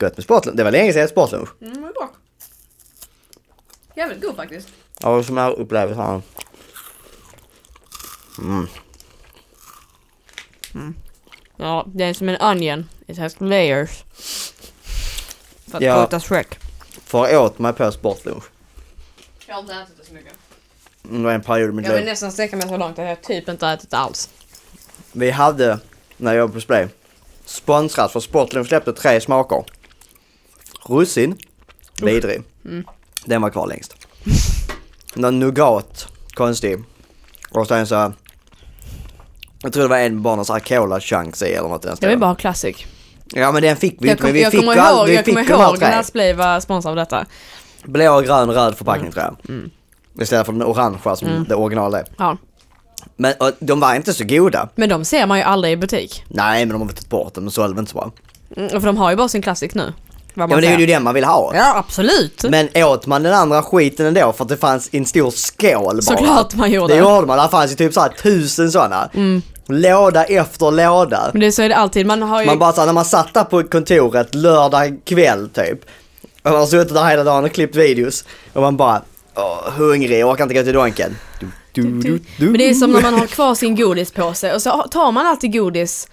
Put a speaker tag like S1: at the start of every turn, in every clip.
S1: Gött med sportlunch. Det var länge sedan jag åt sportlunch.
S2: Mm, det var bra. Jävligt god faktiskt.
S1: Ja, som jag upplever så här. Mm.
S3: Ja, det är som en onion. It has layers. För att
S1: Ja.
S3: quota Shrek.
S1: För jag åt mig på sportlunch.
S2: Jag har inte ätit det så mycket.
S1: Det var en period i mitt
S3: Jag vill
S1: liv.
S3: nästan sträcka mig så långt att jag typ inte har ätit alls.
S1: Vi hade, när jag jobbade på Splay, sponsrat för sportlunch släppte tre smaker. Russin, vidrig.
S3: Mm.
S1: Den var kvar längst. Någon nougat, konstig. Och sen så, jag tror det var en med bara någon sån här cola chunks i eller något i den
S3: Jag vill
S1: stilen.
S3: bara ha classic.
S1: Ja men den fick vi
S3: Jag,
S1: inte,
S3: kom,
S1: men vi
S3: jag
S1: fick
S3: kommer
S1: ju all-
S3: ihåg,
S1: vi
S3: jag
S1: fick
S3: kommer
S1: de här
S3: ihåg
S1: tre.
S3: när Splay var sponsor av detta.
S1: Blå, grön, röd förpackning tror jag.
S3: Mm.
S1: Istället för den orangea som det original är.
S3: Ja.
S1: Men och, de var inte så goda.
S3: Men de ser man ju aldrig i butik.
S1: Nej men de har väl tagit bort dem, de sålde väl inte så bra.
S3: Mm, för de har ju bara sin classic nu. Vad
S1: Ja
S3: man
S1: men det är
S3: säger.
S1: ju den man vill ha.
S3: ja absolut.
S1: Men åt man den andra skiten ändå för att det fanns en stor skål bara.
S3: Såklart man gjorde. Mm.
S1: Det gjorde man, där fanns ju typ såhär tusen sådana. Låda efter låda.
S3: Men det är så är det alltid. Man har ju...
S1: Man bara såhär, när man satt där på kontoret lördag kväll typ. Och man har suttit där hela dagen och klippt videos. Och man bara, åh, hungrig, orkar inte gå till Donken. Du, du, du, du.
S3: Men det är som när man har kvar sin godispåse och så tar man alltid godis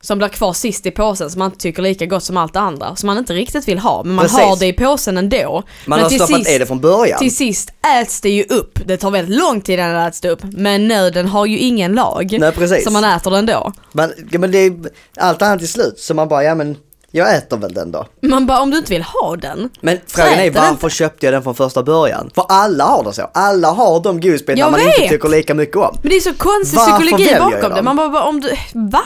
S3: som blir kvar sist i påsen som man inte tycker lika gott som allt det andra. Som man inte riktigt vill ha. Men man
S1: Precis.
S3: har det i påsen ändå.
S1: Man
S3: men
S1: har stoppat i det från början.
S3: till sist äts det ju upp. Det tar väldigt lång tid innan det äts det upp. Men nöden har ju ingen lag.
S1: Nej, precis.
S3: Så man äter den då.
S1: Men, ja, men det är allt annat till slut så man bara, ja men jag äter väl den då.
S3: Man bara om du inte vill ha den.
S1: Men frågan
S3: äter
S1: är
S3: den
S1: varför köpte jag den från första början? För alla har det så. Alla har de godisbitarna
S3: Jag
S1: man
S3: vet.
S1: inte tycker lika mycket om.
S3: Men det är så konstig
S1: Varför väljer
S3: psykologi
S1: jag
S3: bakom det.
S1: dem?
S3: Man bara, bara om du, va?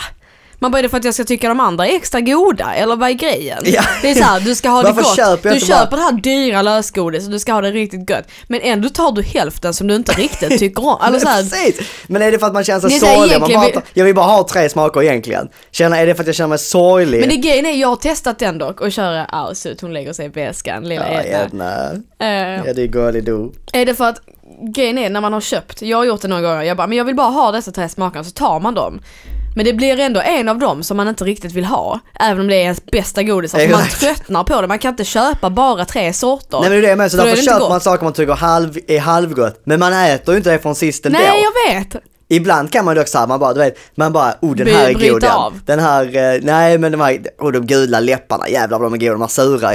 S3: Man bara, är det för att jag ska tycka de andra är extra goda? Eller vad är grejen?
S1: Ja.
S3: Det är såhär, du ska ha det
S1: Varför
S3: gott.
S1: köper jag
S3: du
S1: inte
S3: köper det här dyra lösgodis och du ska ha det riktigt gött. Men ändå tar du hälften som du inte riktigt tycker om. Alltså
S1: Men
S3: såhär,
S1: Precis! Men är det för att man känner sig
S3: Ni säger
S1: sorglig? Man
S3: egentligen
S1: bara,
S3: vi-
S1: tar- Jag vill bara ha tre smaker egentligen. Känner, är det för att jag känner mig sorglig?
S3: men det grejen är, jag har testat den dock och köra Ausut, hon lägger sig i väskan, lilla
S1: Ja,
S3: Edna.
S1: Edna.
S3: Eh,
S1: Ja, det är gullido.
S3: Är det för att grejen är när man har köpt, jag har gjort det några gånger, jag bara men jag vill bara ha dessa tre smakerna så tar man dem. Men det blir ändå en av dem som man inte riktigt vill ha. Även om det är ens bästa godis. Alltså man
S1: Exakt.
S3: tröttnar på det, man kan inte köpa bara tre sorter.
S1: Nej men det är det jag menar, så
S3: För då är
S1: därför
S3: det inte
S1: köper man
S3: gott.
S1: saker man tycker halv, är halvgott. Men man äter ju inte det från sist ändå.
S3: Nej jag vet!
S1: Ibland kan man dock säga, man bara, du vet, man bara, oh den
S3: Bry-
S1: här är
S3: bryta
S1: god den.
S3: av.
S1: Den här, eh, nej men de här, oh de gula läpparna, jävlar vad de är goda, de här sura.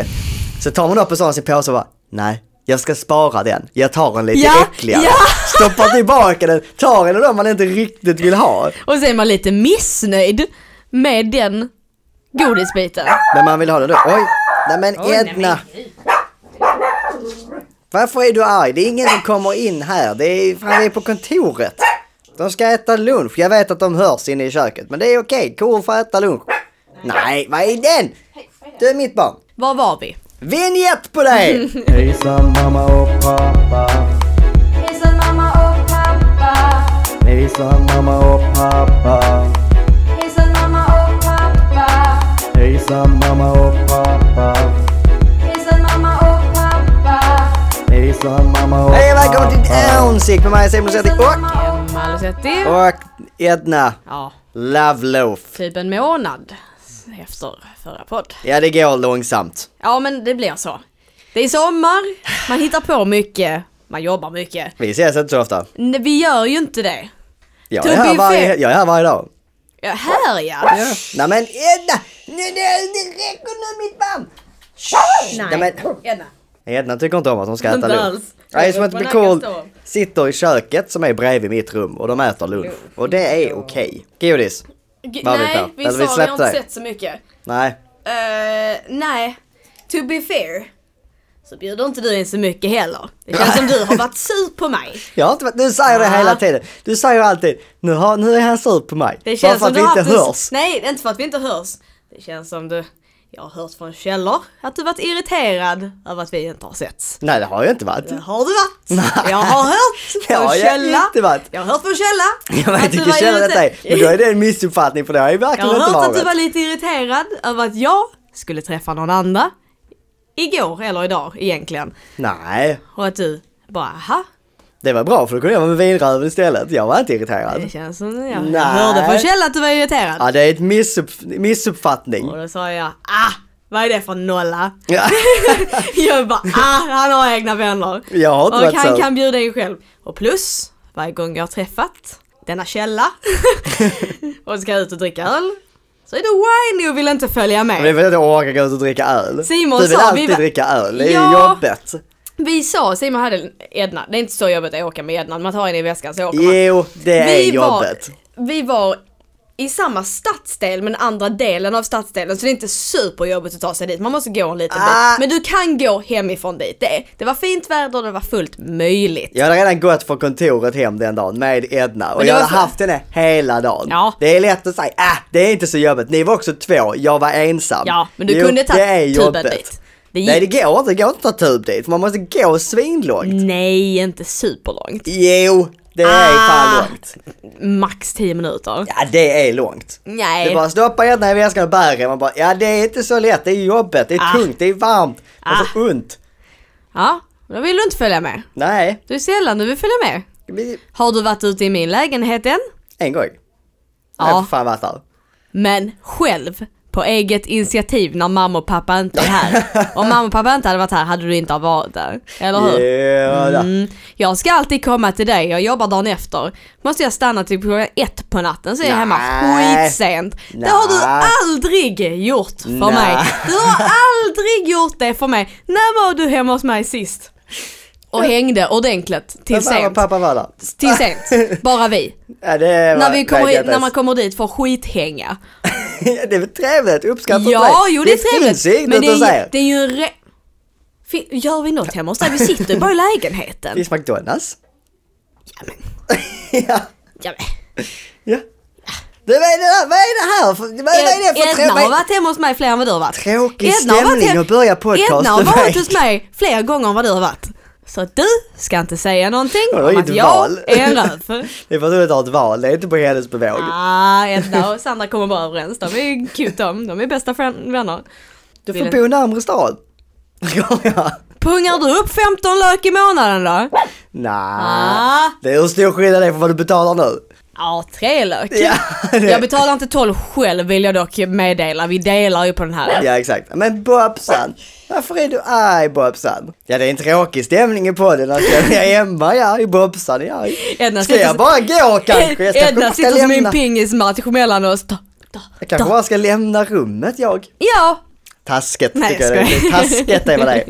S1: Så tar man upp en sån i sin påse och bara, nej, jag ska spara den, jag tar en lite
S3: Ja,
S1: äckligare.
S3: ja.
S1: Stoppar tillbaka den, tar en av dem man inte riktigt vill ha.
S3: Och så är man lite missnöjd med den godisbiten.
S1: Men man vill ha den då, oj, nej men Edna. Varför är du arg? Det är ingen som kommer in här, det är, fan, vi är på kontoret. De ska äta lunch, jag vet att de hörs inne i köket, men det är okej, kor får äta lunch. Nej, vad är den? Du är mitt barn.
S3: Var var vi?
S1: Vinjett på dig!
S4: Hejsan mamma och pappa
S5: Hejsan mamma och pappa.
S4: Hejsan mamma och pappa
S5: Hejsan mamma och pappa.
S4: Hejsan mamma och pappa
S5: Hejsan mamma och pappa.
S4: Hejsan mamma och
S1: Hej och välkommen till Downsik med mig Simon Lucetti och...
S3: Emma Lucetti.
S1: Och Edna
S3: Ja,
S1: Love Loaf.
S3: typ en månad efter förra podd.
S1: Ja det går långsamt.
S3: Ja men det blir så. Det är sommar, man hittar på mycket, man jobbar mycket.
S1: Vi ses inte så ofta.
S3: Nej, vi gör ju inte det.
S1: Jag
S3: To
S1: är här
S3: be
S1: varje,
S3: fair.
S1: jag är här varje dag.
S3: Ja, här ja.
S1: Nej men Edna! Nu nu- det räcker nu mitt band! Nej. men,
S3: Edna.
S1: Edna tycker inte om att hon ska äta
S3: Inte
S1: lunch.
S3: alls.
S1: Nej, det är som att
S3: Man
S1: Nicole
S3: kan stå.
S1: sitter i köket som är bredvid mitt rum och de äter lunch. Och det är okej. Godis?
S3: G-
S1: Vad har vi
S3: nej,
S1: på?
S3: vi
S1: Eller
S3: sa
S1: vi
S3: vi har
S1: släppte
S3: inte
S1: det.
S3: sett så mycket.
S1: Nej.
S3: Eh, nej, to be fair. Så bjuder inte du in så mycket heller. Det känns som du har varit sur på mig.
S1: Jag har inte varit, du säger det
S3: Ja.
S1: hela tiden. Du säger alltid, nu, har, nu är han sur på mig.
S3: Det känns
S1: Bara för
S3: som
S1: att
S3: du
S1: vi
S3: har
S1: inte
S3: haft en-
S1: hörs.
S3: Nej, inte för att vi inte hörs. Det känns som du... Jag har hört från källor att du varit irriterad över att vi inte har setts.
S1: Nej det har jag inte varit.
S3: Det har du varit. Jag har hört
S1: Det har
S3: från
S1: jag
S3: källa.
S1: inte varit.
S3: Jag har hört från källa.
S1: Jag vet
S3: att du
S1: inte
S3: var
S1: känna detta är,
S3: irriterad.
S1: men då är det en missuppfattning för det har jag
S3: Jag
S1: verkligen
S3: har
S1: inte
S3: hört att du
S1: varit.
S3: var lite irriterad över att jag skulle träffa någon annan igår eller idag egentligen.
S1: Nej,
S3: Och att du bara aha,
S1: det var bra för då kunde jag vara med vinröven istället. Jag var inte irriterad.
S3: det känns som jag
S1: Nej.
S3: hörde från källa att du var irriterad.
S1: Ja det är ett missupp, missuppfattning.
S3: Och då sa jag ah, vad är det för nolla?
S1: Ja.
S3: jag bara, ah, han har egna vänner.
S1: Jag har inte
S3: Och
S1: varit
S3: han
S1: så.
S3: kan bjuda in själv. Och plus, varje gång jag har träffat denna källa och ska ut och dricka öl så är det whiny och vill inte följa
S1: Men det är
S3: med.
S1: för att jag orkar gå ut och dricka öl.
S3: Simon
S1: du vill
S3: sa,
S1: alltid
S3: vi var-
S1: dricka öl, det är ju
S3: Ja.
S1: jobbigt.
S3: Vi sa, Simon hade Edna, det är inte så jobbigt att åka med Edna, man tar henne i väskan så åker man.
S1: Jo, det är
S3: Vi var-
S1: jobbigt.
S3: Vi var i samma stadsdel men andra delen av stadsdelen så det är inte superjobbigt att ta sig dit, man måste gå en liten
S1: Ah.
S3: bit. Men du kan gå hemifrån dit, det, det var fint väder och det var fullt möjligt.
S1: Jag hade redan gått från kontoret hem den dagen med Edna och
S3: det
S1: jag
S3: var
S1: hade
S3: så-
S1: haft henne hela dagen.
S3: Ja.
S1: Det är lätt att säga, äh, det är inte så jobbigt. Ni var också två, jag var ensam.
S3: Ja, men du
S1: jo,
S3: kunde ta
S1: det är
S3: tuben
S1: jobbigt.
S3: dit. Det gick.
S1: Nej det går inte, det går inte att ta tub dit, för man måste gå svinlångt.
S3: Nej, inte superlångt.
S1: Jo, det är
S3: Ah.
S1: fan långt.
S3: Max 10 minuter.
S1: Ja det är långt.
S3: Nej.
S1: Det är bara stoppa Edna i väskan och bär henne. Man bara, ja det är inte så lätt, det är jobbigt, det är
S3: Ah.
S1: tungt, det är varmt, och så ont.
S3: Ja, då vill du inte följa med.
S1: Nej,
S3: Du är sällan du vill följa med.
S1: vi-
S3: Har du varit ute i min lägenhet än?
S1: en gång.
S3: Ja.
S1: Jag har för fan varit där.
S3: Men själv, på eget initiativ när mamma och pappa inte är här. Om mamma och pappa inte hade varit här hade du inte varit där. Eller hur?
S1: Ja, då.
S3: Mm. Jag ska alltid komma till dig, jag jobbar dagen efter. Måste jag stanna till klockan ett på natten så är jag hemma
S1: Nej.
S3: skitsent. Det har du
S1: Nej.
S3: aldrig gjort för
S1: Nej.
S3: mig. Du har aldrig gjort det för mig. När var du hemma hos mig sist? Och hängde ordentligt till
S1: Men mamma och
S3: sent.
S1: pappa var där.
S3: Till sent. Bara vi.
S1: Ja, det var,
S3: När, vi kommer
S1: nej,
S3: hit,
S1: det-
S3: när man kommer dit får skithänga.
S1: det är väl trevligt, uppskattat
S3: Ja,
S1: dig.
S3: jo det är
S1: finns ju
S3: trevligt.
S1: inget
S3: Men det
S1: att
S3: är,
S1: säga.
S3: ju- det är ju en re... Fin- Gör vi något hemma hos dig? Vi sitter ju bara i
S1: Det
S3: lägenheten.
S1: finns McDonalds.
S3: Ja, men,
S1: ja,
S3: ja, men.
S1: ja. Du, vad är det här? Vad är det här? för- Vad, vad är det för
S3: Edna har
S1: trevligt?
S3: varit hemma hos mig fler än vad du har varit.
S1: Tråkig
S3: Edna har varit
S1: stämning
S3: he-
S1: att börja podcast
S3: Edna har
S1: för mig.
S3: varit hos mig fler gånger än vad du har varit. Så att du ska inte säga någonting
S1: Hon har
S3: om
S1: inget
S3: att jag
S1: val.
S3: är en röv.
S1: Det är för att du inte har ett val, det är inte på hennes bevåg.
S3: Ah, Edna och Sandra kommer bara överens. De är cute de. De är bästa frän- vänner.
S1: du
S3: vill
S1: får bo närmre stan. ja.
S3: Pungar du upp 15 lök i månaden då?
S1: Nej.
S3: Ah,
S1: Det är hur stor skillnad det är för vad du betalar nu.
S3: ja, tre lök.
S1: Ja, det-
S3: Jag betalar inte 12 själv vill jag dock meddela. Vi delar ju på den här.
S1: Ja exakt. Men Bobsan, varför är du arg Bobsan? Ja det är en tråkig stämning i podden. Alltså, jag är hemma, jag är arg, Bobsan är arg.
S3: Edna
S1: Ska jag
S3: sitter,
S1: bara gå kanske? Jag ska-
S3: Edna
S1: jag ska
S3: sitter som en
S1: lämna-
S3: pingismatch mellan oss. Ta, ta,
S1: Jag kanske bara ska lämna rummet jag.
S3: Ja,
S1: Tasket
S3: Nej,
S1: tycker jag det är.
S3: skojar.
S1: Tasket är vad det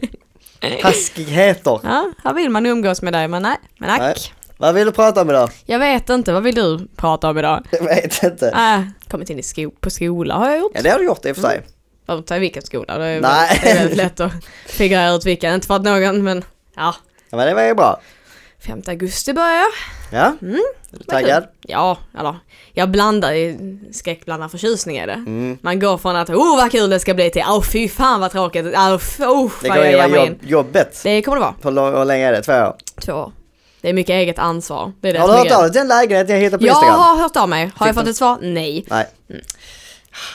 S1: är. Taskigheter.
S3: ja, här vill man umgås med dig men nej, men ack.
S1: Nej. Vad vill du prata om idag?
S3: Jag vet inte, vad vill du prata om idag?
S1: Jag vet inte.
S3: Äh, kommit in i sko- på skola har jag gjort.
S1: Ja det har du gjort i och för
S3: Mm.
S1: sig.
S3: Behöver inte säga vilken skola, det är, väl-
S1: Nej.
S3: det är väldigt lätt att figurera ut vilken. Inte för att någon men ja,
S1: Ja, men det var ju bra.
S3: 5 augusti börjar jag. Mm.
S1: Ja? Är du taggad?
S3: Ja, eller jag blandar i skräckblandad förtjusning är det.
S1: Mm.
S3: Man går från att oh vad kul det ska bli till oh fy fan vad tråkigt, oh, f- oh
S1: Det kommer
S3: vad jag
S1: ju
S3: ger mig
S1: vara jobb,
S3: in.
S1: jobbigt.
S3: Det kommer det vara,
S1: Hur lång- hur länge är det? Två år?
S3: två år. Det är mycket eget ansvar. Det är det
S1: Har du
S3: som är
S1: hört
S3: grejen.
S1: av dig till den lägenheten jag hittade på
S3: Jag
S1: Instagram?
S3: har hört av mig. Har jag
S1: Fick
S3: fått
S1: de-
S3: ett svar? Nej.
S1: Nej.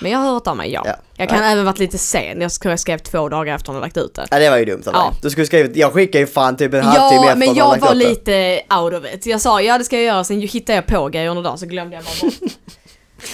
S3: Men jag har hört av mig, ja.
S1: Ja.
S3: Jag kan även varit lite sen. Jag tror jag skrev två dagar efter hon har lagt ut det.
S1: Ja det var ju dumt av
S3: Ja.
S1: dig. Du skulle skrivit, jag skickade ju fan typ en halvtimme
S3: Ja,
S1: efter
S3: men
S1: att du har
S3: jag
S1: lagt
S3: var
S1: upp det.
S3: lite out of it. Jag sa ja det ska jag göra, sen hittade jag på grejer under dagen så glömde jag bara bort.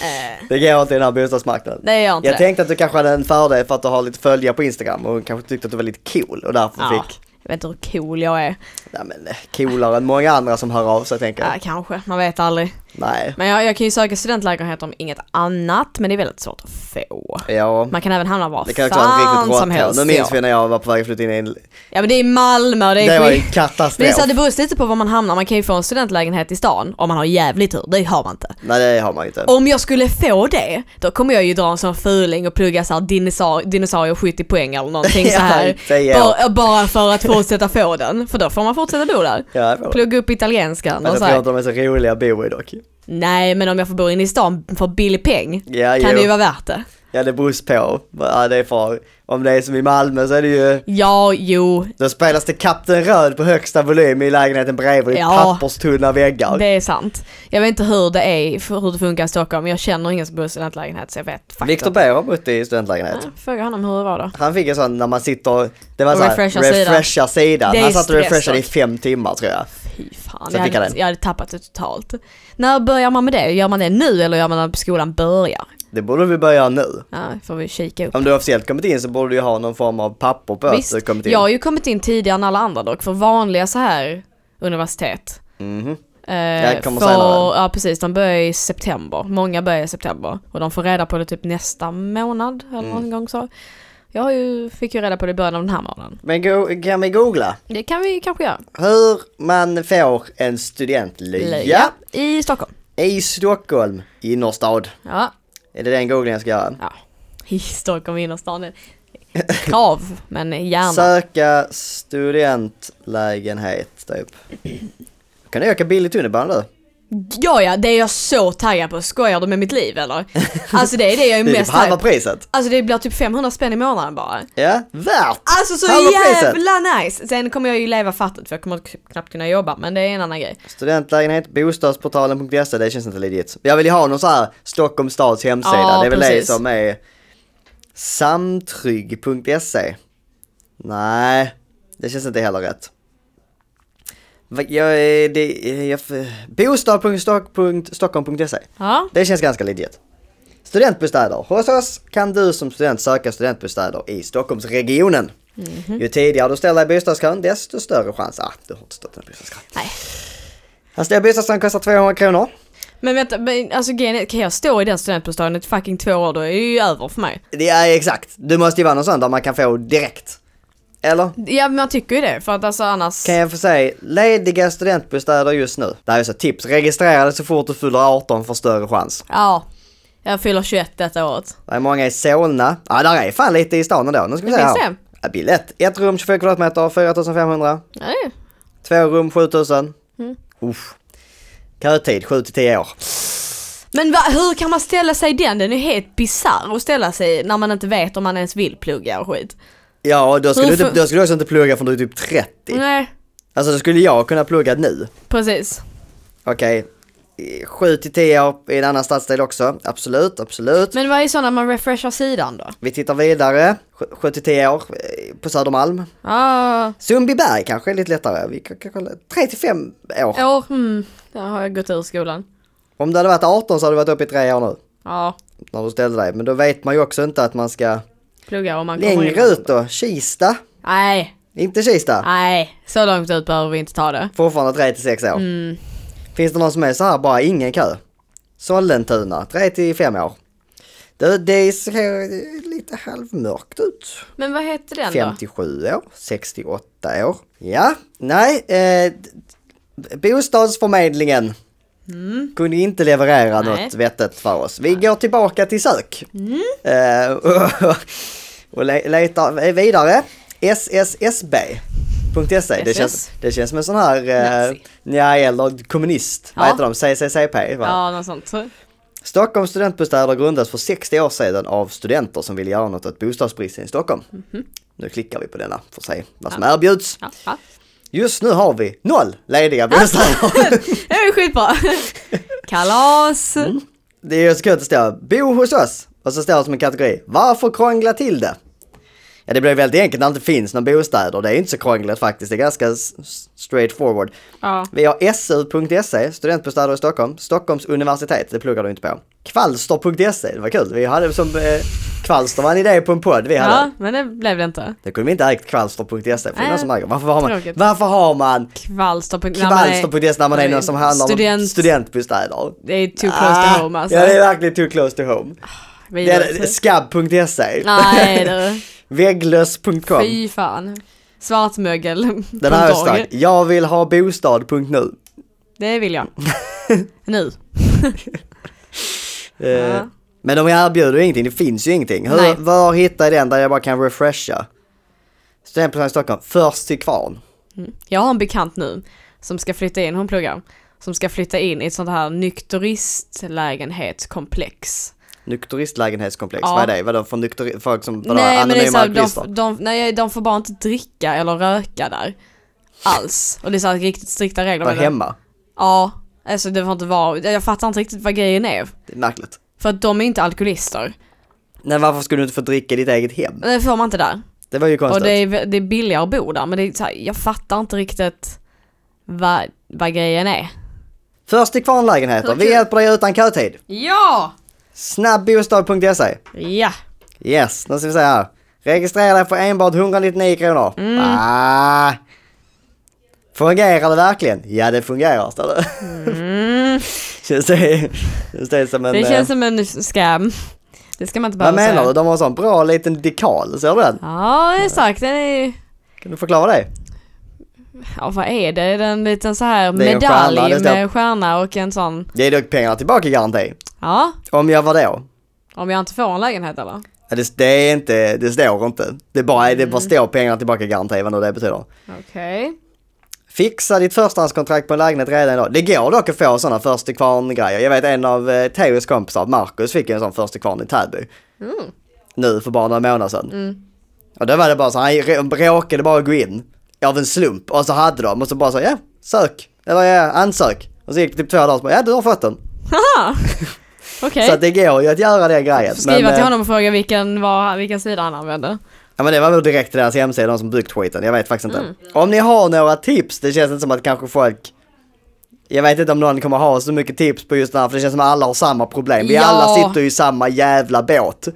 S3: eh,
S1: Det går inte i den här bostadsmarknaden.
S3: det gör inte
S1: Jag
S3: det.
S1: tänkte att du kanske hade en fördel för att du har lite följare på Instagram och kanske tyckte att du var lite cool och därför
S3: ja,
S1: fick,
S3: jag vet inte hur cool jag är.
S1: nej men eh, coolare än många andra som hör av sig tänker jag.
S3: Ja, kanske, man vet aldrig.
S1: Nej.
S3: Men jag, jag kan ju söka studentlägenhet om inget annat, men det är väldigt svårt att få.
S1: Ja.
S3: Man kan även hamna var
S1: Det kan också vara ett
S3: fan
S1: riktigt rått
S3: som
S1: hål.
S3: helst.
S1: Nu minns
S3: ja.
S1: vi när jag var på väg att flytta in i en...
S3: ja men det är Malmö och det är
S1: Det var ju
S3: skit- Men det, är så,
S1: katastrof.
S3: här, det beror ju lite på var man hamnar, man kan ju få en studentlägenhet i stan om man har jävligt tur, det har man inte.
S1: Nej det har man ju inte.
S3: Om jag skulle få det, då kommer jag ju dra en sån fuling och plugga såhär dinosaur, dinosaurier 70 poäng eller någonting så här.
S1: Ja, det är-
S3: bara, bara för att fortsätta få den, för då får man fortsätta bo där.
S1: Ja, det får man.
S3: Plugga upp italienskan
S1: Men jag
S3: och så
S1: tror
S3: här.
S1: inte de är så roliga att bo i dock.
S3: Nej men om jag får bo inne i stan för billig peng,
S1: Ja,
S3: kan
S1: jo.
S3: det ju vara värt det.
S1: Ja det beror på. Ja, det är för, om det är som i Malmö så är det ju
S3: Ja, jo,
S1: Då spelas det Kapten Röd på högsta volym i lägenheten bredvid. Det är
S3: Ja.
S1: papperstunna väggar.
S3: det är sant. Jag vet inte hur det är, för hur det funkar i Stockholm, jag känner ingen som bor i studentlägenhet så jag vet faktiskt
S1: Viktor
S3: inte.
S1: Beer har bott i studentlägenhet.
S3: Ja, Fråga honom hur det var då.
S1: Han fick en sån när man sitter, det var
S3: Och
S1: såhär,
S3: refreshar
S1: refresha sidan.
S3: Det är
S1: Han satt och
S3: stress
S1: refreshade i
S3: dock.
S1: fem timmar tror jag.
S3: Fy fan,
S1: Så
S3: jag
S1: fick jag
S3: hade,
S1: den.
S3: jag hade tappat det totalt. När börjar man med det? Gör man det nu eller gör man det när skolan börjar?
S1: Det borde vi börja nu.
S3: Ja, får vi kika upp.
S1: Om du har officiellt kommit in så borde du ju ha någon form av papper på att
S3: Visst,
S1: du har kommit in.
S3: jag har ju kommit in tidigare än alla andra dock, för vanliga så här universitet.
S1: Mhm.
S3: Eh,
S1: Jag kommer
S3: får,
S1: senare.
S3: ja precis, de börjar i september. Många börjar i september. Och de får reda på det typ nästa månad, eller
S1: Mm.
S3: någon gång så. Jag har ju, fick ju reda på det i början av den här månaden.
S1: Men go- kan vi googla?
S3: Det kan vi kanske göra.
S1: Hur man får en studentlya
S3: Löja. I Stockholm.
S1: i Stockholm innerstad.
S3: Ja.
S1: Är det den googlingen jag ska göra?
S3: ja. I Stockholm innerstan. Krav, men gärna.
S1: Söka studentlägenhet typ. Kan du åka billigt tunnelbana du?
S3: Ja, ja, det är jag så taggad på. Skojar du med mitt liv eller? Alltså det är det jag är
S1: Det är typ
S3: mest
S1: halva
S3: taggad på.
S1: priset.
S3: Alltså det blir typ 500 spänn i månaden bara.
S1: Ja, värt!
S3: Alltså så
S1: Halva priset.
S3: jävla nice! Sen kommer jag ju leva fattigt för jag kommer k- knappt kunna jobba men det är en annan grej.
S1: Studentlägenhet, bostadsportalen.se, det känns inte legit. Jag vill ju ha någon så här Stockholms stads hemsida,
S3: Ja,
S1: det är väl
S3: precis.
S1: det som är samtrygg.se. Nej, det känns inte heller rätt. Va- Jag, är- det, jag, bostad.stockholm.se,
S3: Ja,
S1: det känns ganska legit. Studentbostäder. Hos oss kan du som student söka studentbostäder i Stockholmsregionen. Ju tidigare du ställer dig i bostadskön, desto större chans. Ah, du har inte stått i den bostadskön.
S3: nej.
S1: Här står bostadskön kostar 200 kronor.
S3: Men vänta, men, alltså grejen är, kan jag stå i den studentbostaden i fucking två år då är det ju över för mig.
S1: Det är exakt. Du måste ju vara någon sån där man kan få direkt. Eller?
S3: Ja men jag tycker ju det för att alltså annars...
S1: Kan jag få säga, lediga studentbostäder just nu. Det här är så tips. Registrera dig så fort du fyller 18 för större chans.
S3: Ja. Jag fyller 21 detta året.
S1: Det är många i Solna. Ja, där är fan lite i stan ändå. Nu ska vi
S3: Det
S1: se
S3: finns
S1: här.
S3: det.
S1: Ja, biljett. Ett rum 24 kvadratmeter, 4500.
S3: Ja, det är-
S1: Två rum 7000.
S3: Mm.
S1: Usch. Kötid 7 till 10 år.
S3: Men va, hur kan man ställa sig i den? Den är ju helt bisarr att ställa sig i när man inte vet om man ens vill plugga och skit.
S1: Ja, och då skulle,
S3: Hur
S1: du, typ-
S3: för-
S1: då skulle du också inte plugga förrän du är typ 30.
S3: Nej,
S1: Alltså då skulle jag kunna plugga nu.
S3: precis.
S1: Okej. 7 till 10 år i en annan stadsdel också. Absolut, absolut.
S3: Men vad är så när man refreshar sidan då?
S1: Vi tittar vidare. 7 till 10 år eh, på Södermalm.
S3: Ja,
S1: Sundbyberg kanske är lite lättare. Vi kan, kan kolla. 3 till 5 år.
S3: år, mm, där har jag gått ur skolan.
S1: Om du hade varit 18 så hade du varit uppe i 3 år nu.
S3: Ja,
S1: När du ställde dig. Men då vet man ju också inte att man ska
S3: plugga om man kommer
S1: längre
S3: in.
S1: ut då. Kista.
S3: Nej,
S1: Inte Kista.
S3: nej, så långt ut behöver vi inte ta det.
S1: Fortfarande 3 till 6 år.
S3: Mm.
S1: Finns det någon som är så här bara ingen kö? Sollentuna, 3 till 5 år. Det, det ser lite halvmörkt ut.
S3: Men vad heter den då?
S1: 57 år, 68 år. Ja, nej. Eh, d- d- bostadsförmedlingen kunde inte leverera
S3: Mm. Nej. Mm.
S1: något vettigt för oss. Vi går tillbaka till sök. Eh, och och le- letar vidare. SSSB.se. E. Det
S3: SS.
S1: känns, det känns som en sån här, eh,
S3: Nazi.
S1: nja eller kommunist, vad
S3: Ja.
S1: heter de? CCCP E va?
S3: Ja, något sånt.
S1: Stockholms studentbostäder grundades för 60 år sedan av studenter som ville göra något åt bostadsbristen i Stockholm. Nu klickar vi på denna för att se vad som erbjuds.
S3: Mhm. Ja, ja.
S1: Just nu har vi noll lediga bostäder.
S3: Det är ju skitbra. Kalas.
S1: Mm. det är ju så kul att det står bo hos oss och så står det som en kategori varför krångla till det? Ja det blir väldigt enkelt när det inte finns några bostäder. Det är inte så krångligt faktiskt. Det är ganska s- s- straightforward.
S3: Ja.
S1: Vi har su.se, E, studentbostäder i Stockholm, Stockholms universitet, det pluggar du inte på. Kvalster.se, E, det var kul. Vi hade som, eh, Kvalster var en idé på en podd vi hade.
S3: Ja, men det blev det inte.
S1: Det kunde vi inte ha ägt kvalster.se, E, för det är någon
S3: Nej,
S1: som äger. Varför har man,
S3: tråkigt.
S1: varför har man
S3: Kvalster.
S1: kvalster.se E när man är någon som handlar om
S3: Student.
S1: studentbostäder? Ah,
S3: Det är too close to home alltså.
S1: Ja det är verkligen too close to home.
S3: Vi-
S1: Det är Skabb.se,
S3: Nej du.
S1: Vägglöss.com,
S3: Fy fan. Svartmögel.
S1: den här är stark. Jag vill ha bostad.nu.
S3: Det vill jag. nu.
S1: Eh,
S3: Ja.
S1: Men de erbjuder ju ingenting, det finns ju ingenting.
S3: Nej.
S1: Hur, var hittar jag den där jag bara kan refresha? Studentbostäder i Stockholm, först till kvarn.
S3: Mm. Jag har en bekant nu som ska flytta in, hon pluggar, som ska flytta in i ett sånt här nykteristlägenhetskomplex.
S1: Nykteristlägenhetskomplex,
S3: Ja.
S1: vad är det? Vadå för nykter... folk som, vadå,
S3: nej men det är
S1: anonyma
S3: så här,
S1: alkoholister?
S3: de, de, nej, de får bara inte dricka eller röka där. Alls. Och det är så här riktigt strikta regler.
S1: Var
S3: med det.
S1: hemma?
S3: Ja. Alltså det får inte vara, jag fattar inte riktigt vad grejen är.
S1: Det är märkligt.
S3: För att de är inte alkoholister.
S1: Nej varför skulle du inte få dricka i ditt eget hem?
S3: Det får man inte där.
S1: Det var ju
S3: Och
S1: konstigt.
S3: det är, det är billigare att bo där men det är så här, jag fattar inte riktigt vad, vad grejen är.
S1: Först till kvarnlägenheter, vi hjälper dig utan kötid.
S3: Ja!
S1: Snabbbostad.se.
S3: Ja.
S1: E. Yes, nu ska vi se här. Registrera dig för enbart 199 kronor.
S3: Mm.
S1: Ah. Fungerar det verkligen? Ja, det fungerar, står det.
S3: Mm.
S1: känns, det känns det som en...
S3: Det
S1: eh,
S3: känns som en scam. Det ska man inte
S1: vad
S3: behöva
S1: menar du?
S3: säga.
S1: De har en sån bra liten dekal, ser du den?
S3: Ja, exakt. Den är...
S1: Kan du förklara det?
S3: Ja, vad är det? Det är en liten så här
S1: Det är en
S3: medalj
S1: stjärna, det står-
S3: med stjärna och en sån.
S1: Det är dock pengar tillbaka i garanti.
S3: Ja,
S1: Om jag var då?
S3: om jag inte får en lägenhet eller?
S1: Ja, Det, det är inte, det står inte. Det bara,
S3: Mm.
S1: det bara står pengar tillbaka i garanti, vad nu det betyder.
S3: Okej.
S1: Fixa ditt förstahandskontrakt på en lägenhet redan idag. Det går dock att få sådana först till kvarn-grejer. Jag vet en av eh, Teos kompisar, Marcus, fick en sån först till kvarn i Täby.
S3: Mm.
S1: Nu för bara några månader sedan. Och då var det bara så, han rå- råkade bara gå in av en slump och så hade de och så bara så, ja, sök. Eller ja, ansök. Och så gick det typ två dagar och så bara, ja du har fått den.
S3: Haha! Okej.
S1: Så att det går ju att göra den grejen.
S3: Skriva
S1: Men,
S3: till
S1: eh,
S3: honom och fråga vilken, var, vilken sida han använde.
S1: Ja men det var väl direkt till deras hemsida, de som byggt skiten. Jag vet faktiskt
S3: Mm.
S1: inte. Om ni har några tips, det känns inte som att kanske folk... Jag vet inte om någon kommer ha så mycket tips på just det här, för det känns som att alla har samma problem. Vi
S3: Ja.
S1: alla sitter ju i samma jävla båt.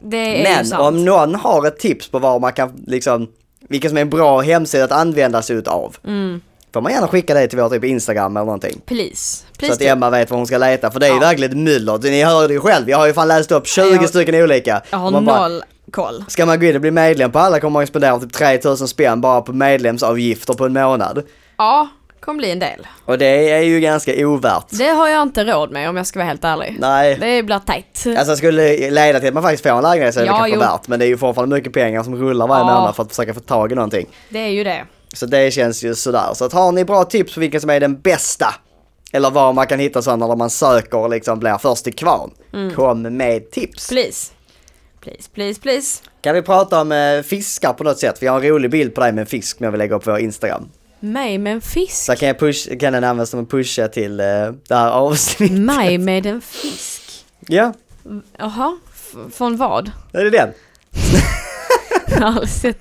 S3: Det är ju
S1: Men
S3: sant.
S1: om någon har ett tips på vad man kan, liksom, vilken som är en bra hemsida att använda sig utav.
S3: Mm.
S1: Får man gärna skicka det till vår typ Instagram eller någonting.
S3: Please.
S1: Så
S3: Please
S1: att
S3: do.
S1: Emma vet vad hon ska leta, för det är ju
S3: Ja.
S1: verkligen ett myller. Ni hörde ju själv, jag har ju fan läst upp 20
S3: Jag-
S1: stycken olika.
S3: Jag har
S1: Och man bara,
S3: noll koll.
S1: Ska man gå in och bli medlem på alla kommer man ju spendera typ 3000 spänn bara på medlemsavgifter på en månad.
S3: Ja, kommer bli en del.
S1: Och det är ju ganska ovärt.
S3: Det har jag inte råd med om jag ska vara helt ärlig.
S1: Nej.
S3: Det blir tajt.
S1: Alltså skulle det leda till att man faktiskt får en lägenhet så är det
S3: Ja,
S1: kanske
S3: jo.
S1: värt. Men det är ju fortfarande mycket pengar som rullar varje
S3: Ja.
S1: månad för att försöka få tag i någonting.
S3: Det är ju det.
S1: Så det känns ju sådär. Så att har ni bra tips på vilken som är den bästa? Eller var man kan hitta sådana där man söker och liksom blir först i kvarn.
S3: Mm.
S1: Kom med tips.
S3: Please. Please, please, please.
S1: Kan vi prata om eh, fiskar på något sätt? Vi har en rolig bild på dig med en fisk som jag vill lägga upp på vår Instagram.
S3: Mig med en fisk.
S1: Så kan, jag push, kan den användas som en pusha till eh, det här avsnittet.
S3: Mig med en fisk.
S1: Ja,
S3: Jaha, F- från vad?
S1: är det den?
S3: Jag har aldrig sett.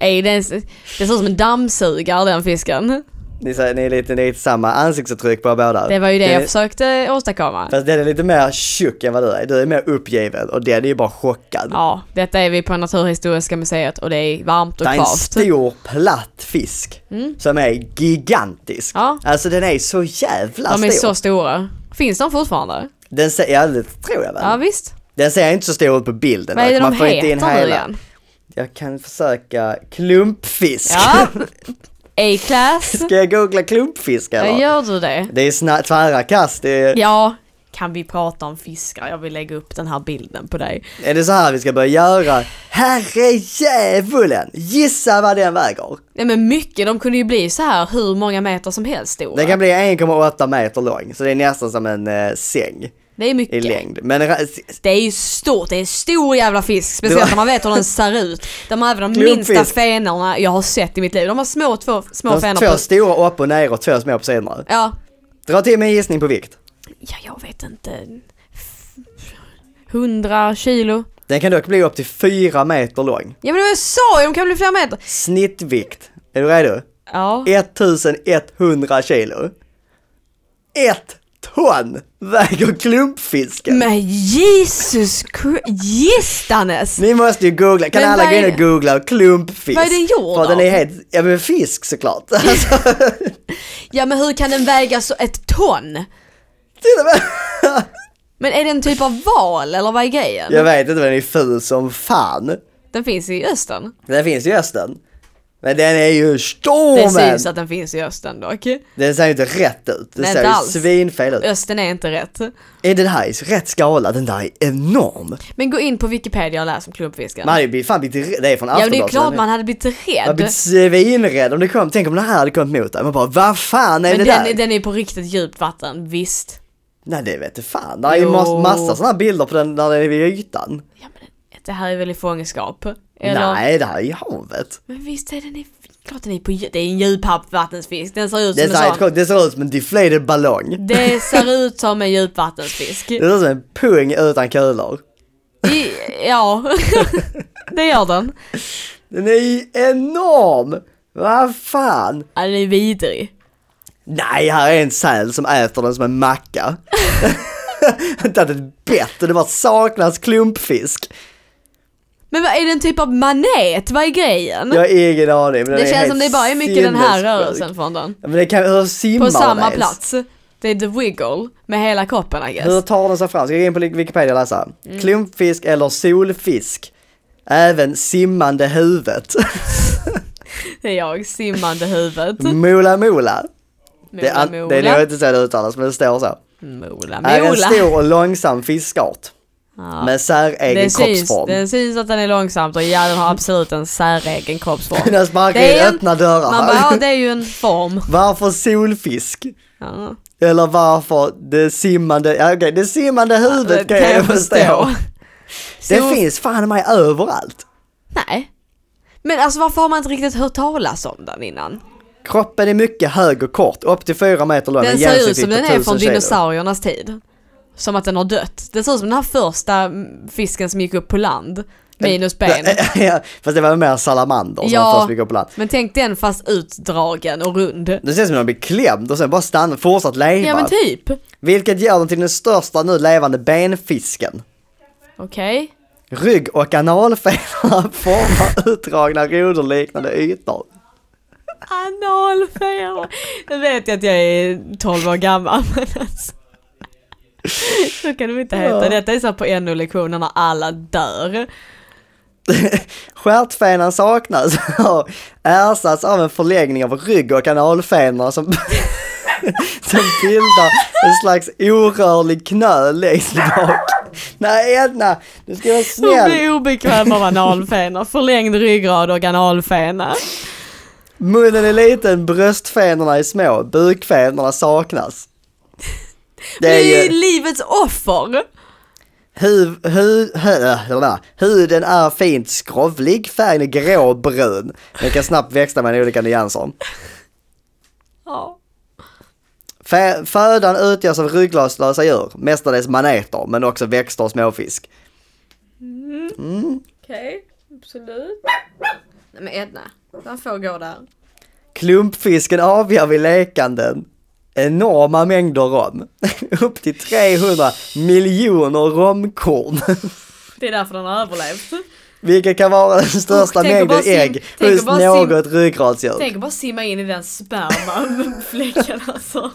S3: Ej, den, s- det ser ut som en dammsugare den fisken.
S1: Ni, sa- ni, är lite, ni är lite samma ansiktsuttryck på er båda.
S3: Det var ju det
S1: Den
S3: jag
S1: är-
S3: försökte åstadkomma.
S1: Fast den är lite mer tjock än vad du är. Du är mer uppgiven och den är ju bara chockad.
S3: Ja, detta är vi på Naturhistoriska museet och det är varmt och
S1: det är en
S3: kvavt.
S1: stor platt fisk som är gigantisk.
S3: Mm. Ja.
S1: Alltså den är så jävla
S3: De är
S1: stor.
S3: så stora. Finns de fortfarande?
S1: Den ser, ja det tror jag väl.
S3: Ja visst.
S1: Den ser inte så stor ut på bilden.
S3: Vad är det
S1: Man
S3: de
S1: får inte in
S3: heter nu
S1: hela.
S3: igen?
S1: Jag kan försöka klumpfisk.
S3: Ja. A-class.
S1: Ska jag googla klumpfisk eller?
S3: Ja, Gör du det?
S1: Det är snä- tvära kast. Det är,
S3: Ja. Kan vi prata om fiskar? Jag vill lägga upp den här bilden på dig.
S1: är det så här vi ska börja göra? Herrejävulen! Gissa vad den väger.
S3: Nej men mycket, de kunde ju bli så här hur många meter som helst stora.
S1: Den kan bli 1,8 meter lång, så det är nästan som en eh, säng
S3: Det är
S1: i
S3: mycket.
S1: längd. Men ra-
S3: Det är ju stort, det är en stor jävla fisk. Speciellt
S1: Det var-
S3: när man vet hur den ser ut. De har även de
S1: Klumpfisk.
S3: minsta fenorna jag har sett i mitt liv. De har små två små
S1: de
S3: fenor
S1: två
S3: på...
S1: stora upp och ner och två små på sidorna.
S3: Ja.
S1: Dra till med en gissning på vikt.
S3: ja, jag vet inte. 100 kilo.
S1: Den kan dock bli upp till 4 meter lång.
S3: Ja men det var jag sa ju, de kan bli flera meter.
S1: Snittvikt. Är du redo?
S3: Ja.
S1: 1100 kilo. Ett ton väger klumpfisken.
S3: Men Jesus Christ, gistanes!
S1: Ni måste ju googla, kan
S3: Men
S1: alla
S3: vad
S1: gå
S3: är
S1: in och
S3: det?
S1: googla klumpfisk?
S3: Vad är den gjord
S1: För
S3: av?
S1: den är helt, ja men fisk såklart. Alltså,
S3: Ja men hur kan den väga så ett ton?
S1: till och med.
S3: Men är det en typ av val eller vad är grejen?
S1: Jag vet inte men den är ful som fan.
S3: Den finns i östen.
S1: Den finns i östen. Men den är ju
S3: Det
S1: stor
S3: syns
S1: men!
S3: att den finns i östen dock.
S1: Den ser ju inte rätt ut. Den
S3: Nej,
S1: ser
S3: inte
S1: ju
S3: alls.
S1: svinfel ut.
S3: Östen är inte rätt.
S1: Är den här i rätt skala? Den där är enorm.
S3: Men gå in på Wikipedia och läs om klumpfisken.
S1: Man hade ju blivit- fan blivit rädd. Det är från
S3: ja men det
S1: Aftonbladet, så
S3: är klart
S1: den
S3: man hade blivit
S1: Jag
S3: rädd.
S1: blir svinrädd om det kom, tänk om det här hade kommit mot dig. Man bara, vad fan är
S3: Men
S1: det
S3: den,
S1: där?
S3: är- den är på riktigt djupt vatten, visst.
S1: Nej det vet du fan. Det är ju
S3: Jo.
S1: mass- massa sådana här bilder på den när den är vid ytan.
S3: Ja men det här är väl i fångenskap? Eller?
S1: Nej det här är ju havet.
S3: Men visst är den i... Klart den är på dju- Det är en djupvattensfisk. Den ser ut
S1: Det
S3: som
S1: ser,
S3: en
S1: helt
S3: sån.
S1: sjukt- det ser ut som en deflated ballong.
S3: Det ser ut som en djupvattensfisk.
S1: Det ser ut som en pung utan kulor.
S3: I, ja, det gör den.
S1: Den är ju enorm! Vad fan!
S3: Ja, den är vidrig.
S1: Nej, här är en säl som äter den som en macka. inte hade ett bett och det bara saknas klumpfisk.
S3: Men vad är det en typ av manet? Vad är grejen?
S1: Jag har ingen aning. Men den
S3: det
S1: är
S3: känns
S1: helt
S3: som det bara är mycket den här
S1: sinnessjuk.
S3: rörelsen från den.
S1: Ja, Men det kan, hur simmar
S3: På samma
S1: den ens?
S3: plats. Det är the wiggle med hela kroppen I
S1: Hur
S3: guess.
S1: tar den sig fram? Ska jag gå in på Wikipedia och läsa?
S3: Mm.
S1: Klumpfisk eller solfisk? Även simmande huvudet.
S3: Det är jag, simmande huvudet.
S1: Mola mola. Mm. Det,
S3: Mola,
S1: är- det är nog
S3: mola.
S1: inte så det uttalas men det står så.
S3: Mola,
S1: Är en
S3: mola.
S1: stor och långsam fiskart.
S3: Ja.
S1: Med säregen
S3: Det syns,
S1: kroppsform.
S3: det syns att den är långsamt och ja, den har absolut en säregen kroppsform.
S1: Den sparkar
S3: Det
S1: in
S3: är en-
S1: öppna dörrar.
S3: Man bara, ja det är ju en form.
S1: Varför solfisk?
S3: Ja.
S1: Eller varför det simmande, ja, okej det simmande huvudet kan jag, förstå. Det
S3: Sol-
S1: finns fan mig överallt.
S3: Nej. Men alltså varför har man inte riktigt hört talas om den innan?
S1: Kroppen är mycket hög och kort, upp till fyra meter lång.
S3: Den
S1: med
S3: ser ut
S1: genomsnitt
S3: som
S1: på
S3: den är
S1: 1000
S3: från
S1: kilo.
S3: dinosauriernas tid. Som att den har dött. Det ser ut som den här första mm, fisken som gick upp på land. Minus ben.
S1: ja, fast det var mer salamander som
S3: Ja.
S1: ja. först gick upp på land.
S3: Men tänk den fast utdragen och rund.
S1: Det känns som att de blir klämd och sen bara stannar, fortsatt leva.
S3: Ja men typ.
S1: Vilket gör den till den största nu levande benfisken.
S3: Okej.
S1: Rygg och analfenorna formar utdragna roderliknande ytor.
S3: Analfeber. Nu vet jag att jag är 12 år gammal men alltså. Så kan det inte heta.
S1: Ja.
S3: Detta är så här på NO-lektionerna när alla dör.
S1: Stjärtfenan saknas och har ersatts av en förlängning av rygg och analfenorna som, som bildar en slags orörlig knöl längst bak. Nej Edna, du ska vara
S3: Hon
S1: snäll.
S3: blir obekväm av analfenor. Förlängd ryggrad och analfena.
S1: Munnen är liten, bröstfenorna är små, bukfenorna saknas. Det
S3: Det
S1: är
S3: är ju
S1: ju
S3: livets offer.
S1: huv, hu, hö, hö, huden är fint skrovlig, färgen är gråbrun. Den kan snabbt växla mellan olika nyanser.
S3: Ja.
S1: Fä- Födan utgörs av rygglaslösa djur, mestadels maneter, men också växter och småfisk.
S3: Okej, absolut. Nej men Edna, den får gå där.
S1: Klumpfisken avgör vid lekanden enorma mängder rom. Upp till 300 miljoner romkorn.
S3: Det är därför den har överlevt.
S1: Vilket kan vara den största
S3: Usch, tänk att
S1: mängden
S3: bara sim-
S1: ägg
S3: tänk
S1: hos
S3: att bara sim-
S1: något ryggradsdjur.
S3: Tänk att bara simma in i den spermafläcken alltså.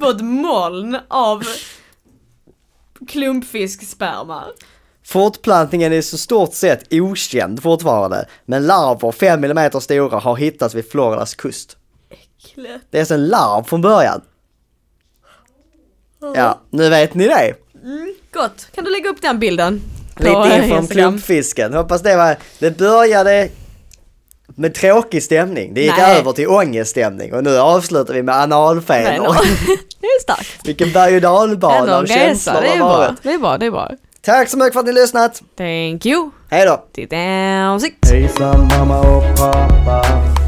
S3: På ett moln av klumpfisksperma.
S1: Fortplantningen är i så stort sett okänd fortfarande, men larver 5 mm stora har hittats vid Floridas kust.
S3: Äckligt.
S1: Det är alltså en larv från början. Ja, nu vet ni det.
S3: Mm, Gott, kan du lägga upp den bilden? på
S1: Lite info om
S3: Instagram?
S1: klumpfisken. Hoppas det var... Det började med tråkig stämning. Det gick
S3: Nej.
S1: över till ångeststämning och nu avslutar vi med analfenor.
S3: Det är starkt.
S1: Vilken berg och dalbana av känslor
S3: det
S1: har
S3: är bra.
S1: varit.
S3: Det är bra, det är bra.
S1: Tack så mycket för att ni har lyssnat.
S3: Thank you.
S1: Hej då!
S3: Titta, sikt.
S4: oh, Hejsan mamma och pappa oh, oh, oh,